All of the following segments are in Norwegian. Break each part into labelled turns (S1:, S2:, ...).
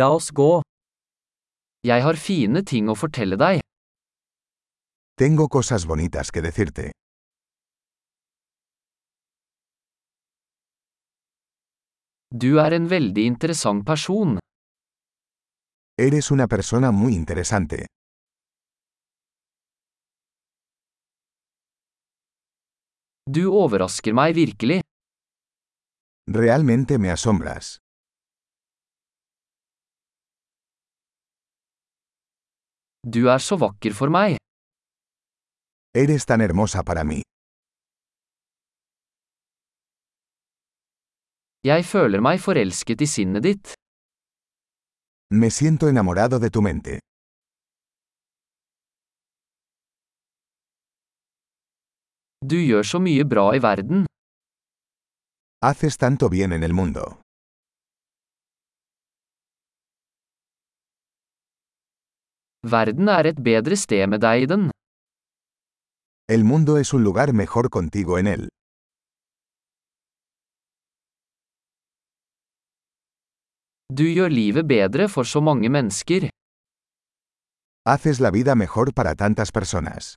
S1: La oss gå. Jeg har fine ting å fortelle deg.
S2: Tengo cosas bonitas que decirte.
S1: Du er en veldig interessant person.
S2: Eres una persona muy interesante.
S1: Du overrasker meg virkelig.
S2: Realmente me asombras.
S1: Du er så vakker for meg.
S2: Eres tan hermosa para mí.
S1: Jeg føler meg forelsket i sinnet ditt.
S2: Me siento enamorado de tu mente.
S1: Du gjør så mye bra i verden.
S2: Haces tanto bien en el mundo.
S1: Verden er et bedre sted med deg i den.
S2: El mundo es un lugar mejor contigo en él.
S1: Du gjør livet bedre for så mange mennesker.
S2: Haces la vida mejor para tantas personas.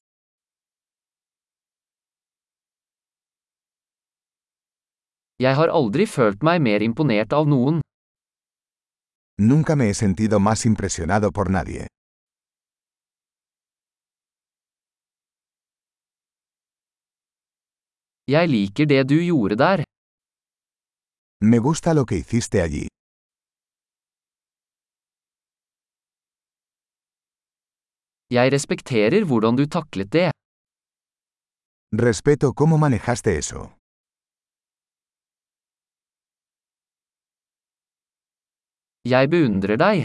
S1: Jeg har aldri følt meg mer imponert av noen.
S2: Nunca me he sentido más impresionado por nadie.
S1: Jeg liker det du gjorde der.
S2: Me gusta lo que hiciste allí.
S1: Jeg respekterer hvordan du taklet det.
S2: Respeto cómo manejaste eso.
S1: Jeg beundrer deg.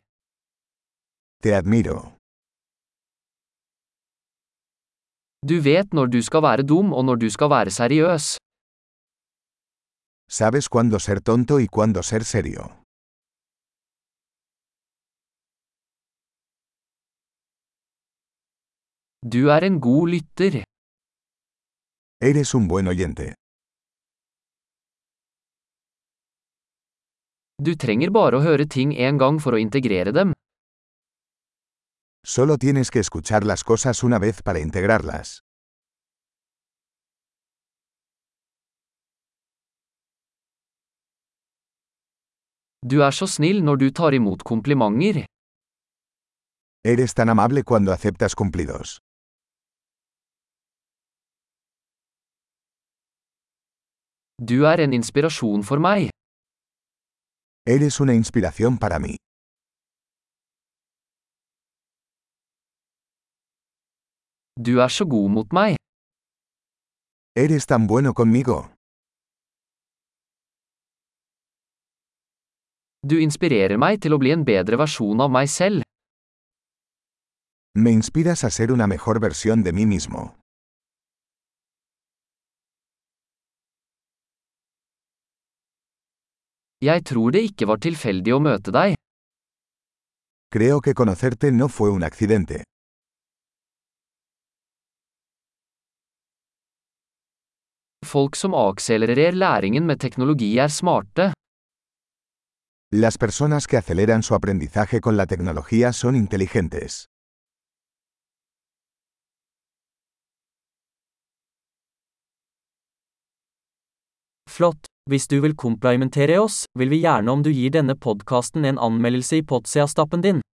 S2: Te admiro.
S1: Du vet når du skal være dum og når du skal være seriøs.
S2: Sabes cuándo ser tonto y cuándo ser serio.
S1: Du er en god lytter.
S2: Eres un buen oyente.
S1: Du trenger bare å høre ting en gang for å integrere dem.
S2: Solo tienes que escuchar las cosas una vez para integrarlas.
S1: Du er så snill når du tar imot komplimenter.
S2: Eres tan amable cuando aceptas cumplidos.
S1: Du er en inspirasjon for meg.
S2: Eres una inspiración para mí.
S1: Du er så god mot meg.
S2: Eres tan bueno conmigo.
S1: Du inspirerer meg til å bli en bedre versjon av meg selv.
S2: Me inspiras a ser una mejor versión de mí mismo.
S1: Jeg tror det ikke var tilfeldig å møte deg.
S2: Creo que conocerte no fue un accidente.
S1: Folk som akselererer læringen med teknologi er smarte.
S2: Las personas que aceleran su aprendizaje con la tecnología son inteligentes.
S3: Flott! Hvis du vil komplimentere oss, vil vi gjerne om du gir denne podkasten en anmeldelse i Potsia-stappen din.